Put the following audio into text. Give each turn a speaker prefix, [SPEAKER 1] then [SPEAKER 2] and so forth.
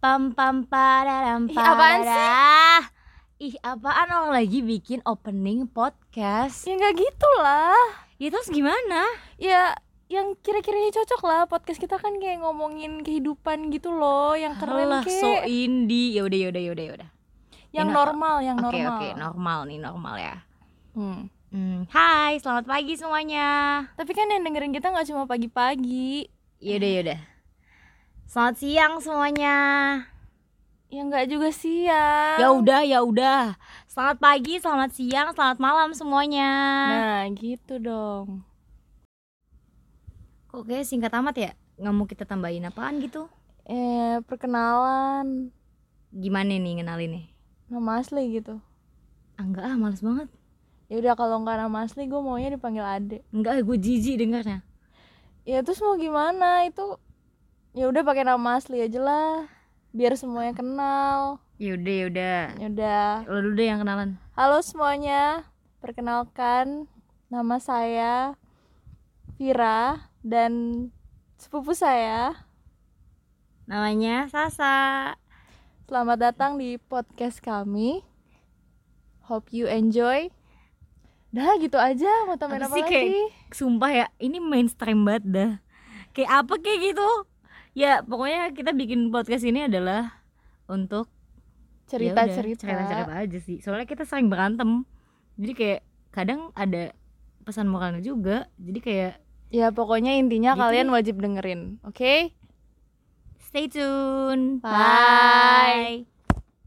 [SPEAKER 1] Pam pam pararam
[SPEAKER 2] Ih, apaan sih?
[SPEAKER 1] pararah. Ih, apaan orang lagi bikin opening podcast?
[SPEAKER 2] Ya nggak gitu lah.
[SPEAKER 1] Ya terus gimana?
[SPEAKER 2] Ya yang kira-kiranya cocok lah podcast kita kan kayak ngomongin kehidupan gitu loh, yang keren
[SPEAKER 1] Alah,
[SPEAKER 2] kek,
[SPEAKER 1] so indie. Ya udah ya udah ya udah ya udah.
[SPEAKER 2] yang
[SPEAKER 1] enak.
[SPEAKER 2] normal, yang
[SPEAKER 1] Oke
[SPEAKER 2] normal.
[SPEAKER 1] oke, normal nih, normal ya.
[SPEAKER 2] Hmm.
[SPEAKER 1] Hmm, hai, selamat pagi semuanya.
[SPEAKER 2] Tapi kan yang dengerin kita nggak cuma pagi-pagi,
[SPEAKER 1] Ya udah ya udah. Selamat siang semuanya.
[SPEAKER 2] ya nggak juga siang.
[SPEAKER 1] Ya udah ya udah. Selamat pagi, selamat siang, selamat malam semuanya.
[SPEAKER 2] Nah gitu dong.
[SPEAKER 1] Kok kayaknya singkat amat ya? Nggak mau kita tambahin apaan gitu?
[SPEAKER 2] Eh perkenalan
[SPEAKER 1] Gimana nih ngenalin nih?
[SPEAKER 2] nama asli gitu.
[SPEAKER 1] Ah, enggak ah, males banget.
[SPEAKER 2] Ya udah kalau nggak nama asli gue maunya dipanggil Ade.
[SPEAKER 1] Enggak, gue jijik dengarnya.
[SPEAKER 2] Ya terus mau gimana itu? Ya udah pakai nama asli aja lah, biar semuanya kenal.
[SPEAKER 1] Yaudah yaudah
[SPEAKER 2] Ya udah.
[SPEAKER 1] Lo dulu deh yang kenalan
[SPEAKER 2] Halo semuanya, perkenalkan nama saya Vira dan sepupu saya.
[SPEAKER 1] Namanya Sasa
[SPEAKER 2] Selamat datang di podcast kami. Hope you enjoy. Dah gitu aja, mau tambahin
[SPEAKER 1] Apa
[SPEAKER 2] apa,
[SPEAKER 1] sih,
[SPEAKER 2] lagi?
[SPEAKER 1] Kay? Sumpah ya ini mainstream banget dah Kayak apa kayak gitu Ya pokoknya kita bikin podcast ini adalah Untuk ya udah,
[SPEAKER 2] Cerita-cerita.
[SPEAKER 1] Cerita-cerita aja sih Soalnya kita sering berantem Jadi kayak kadang ada pesan moralnya juga Jadi kayak
[SPEAKER 2] Ya pokoknya intinya
[SPEAKER 1] Gitu
[SPEAKER 2] kalian
[SPEAKER 1] deh.
[SPEAKER 2] wajib dengerin, oke?
[SPEAKER 1] stay tune
[SPEAKER 2] Bye.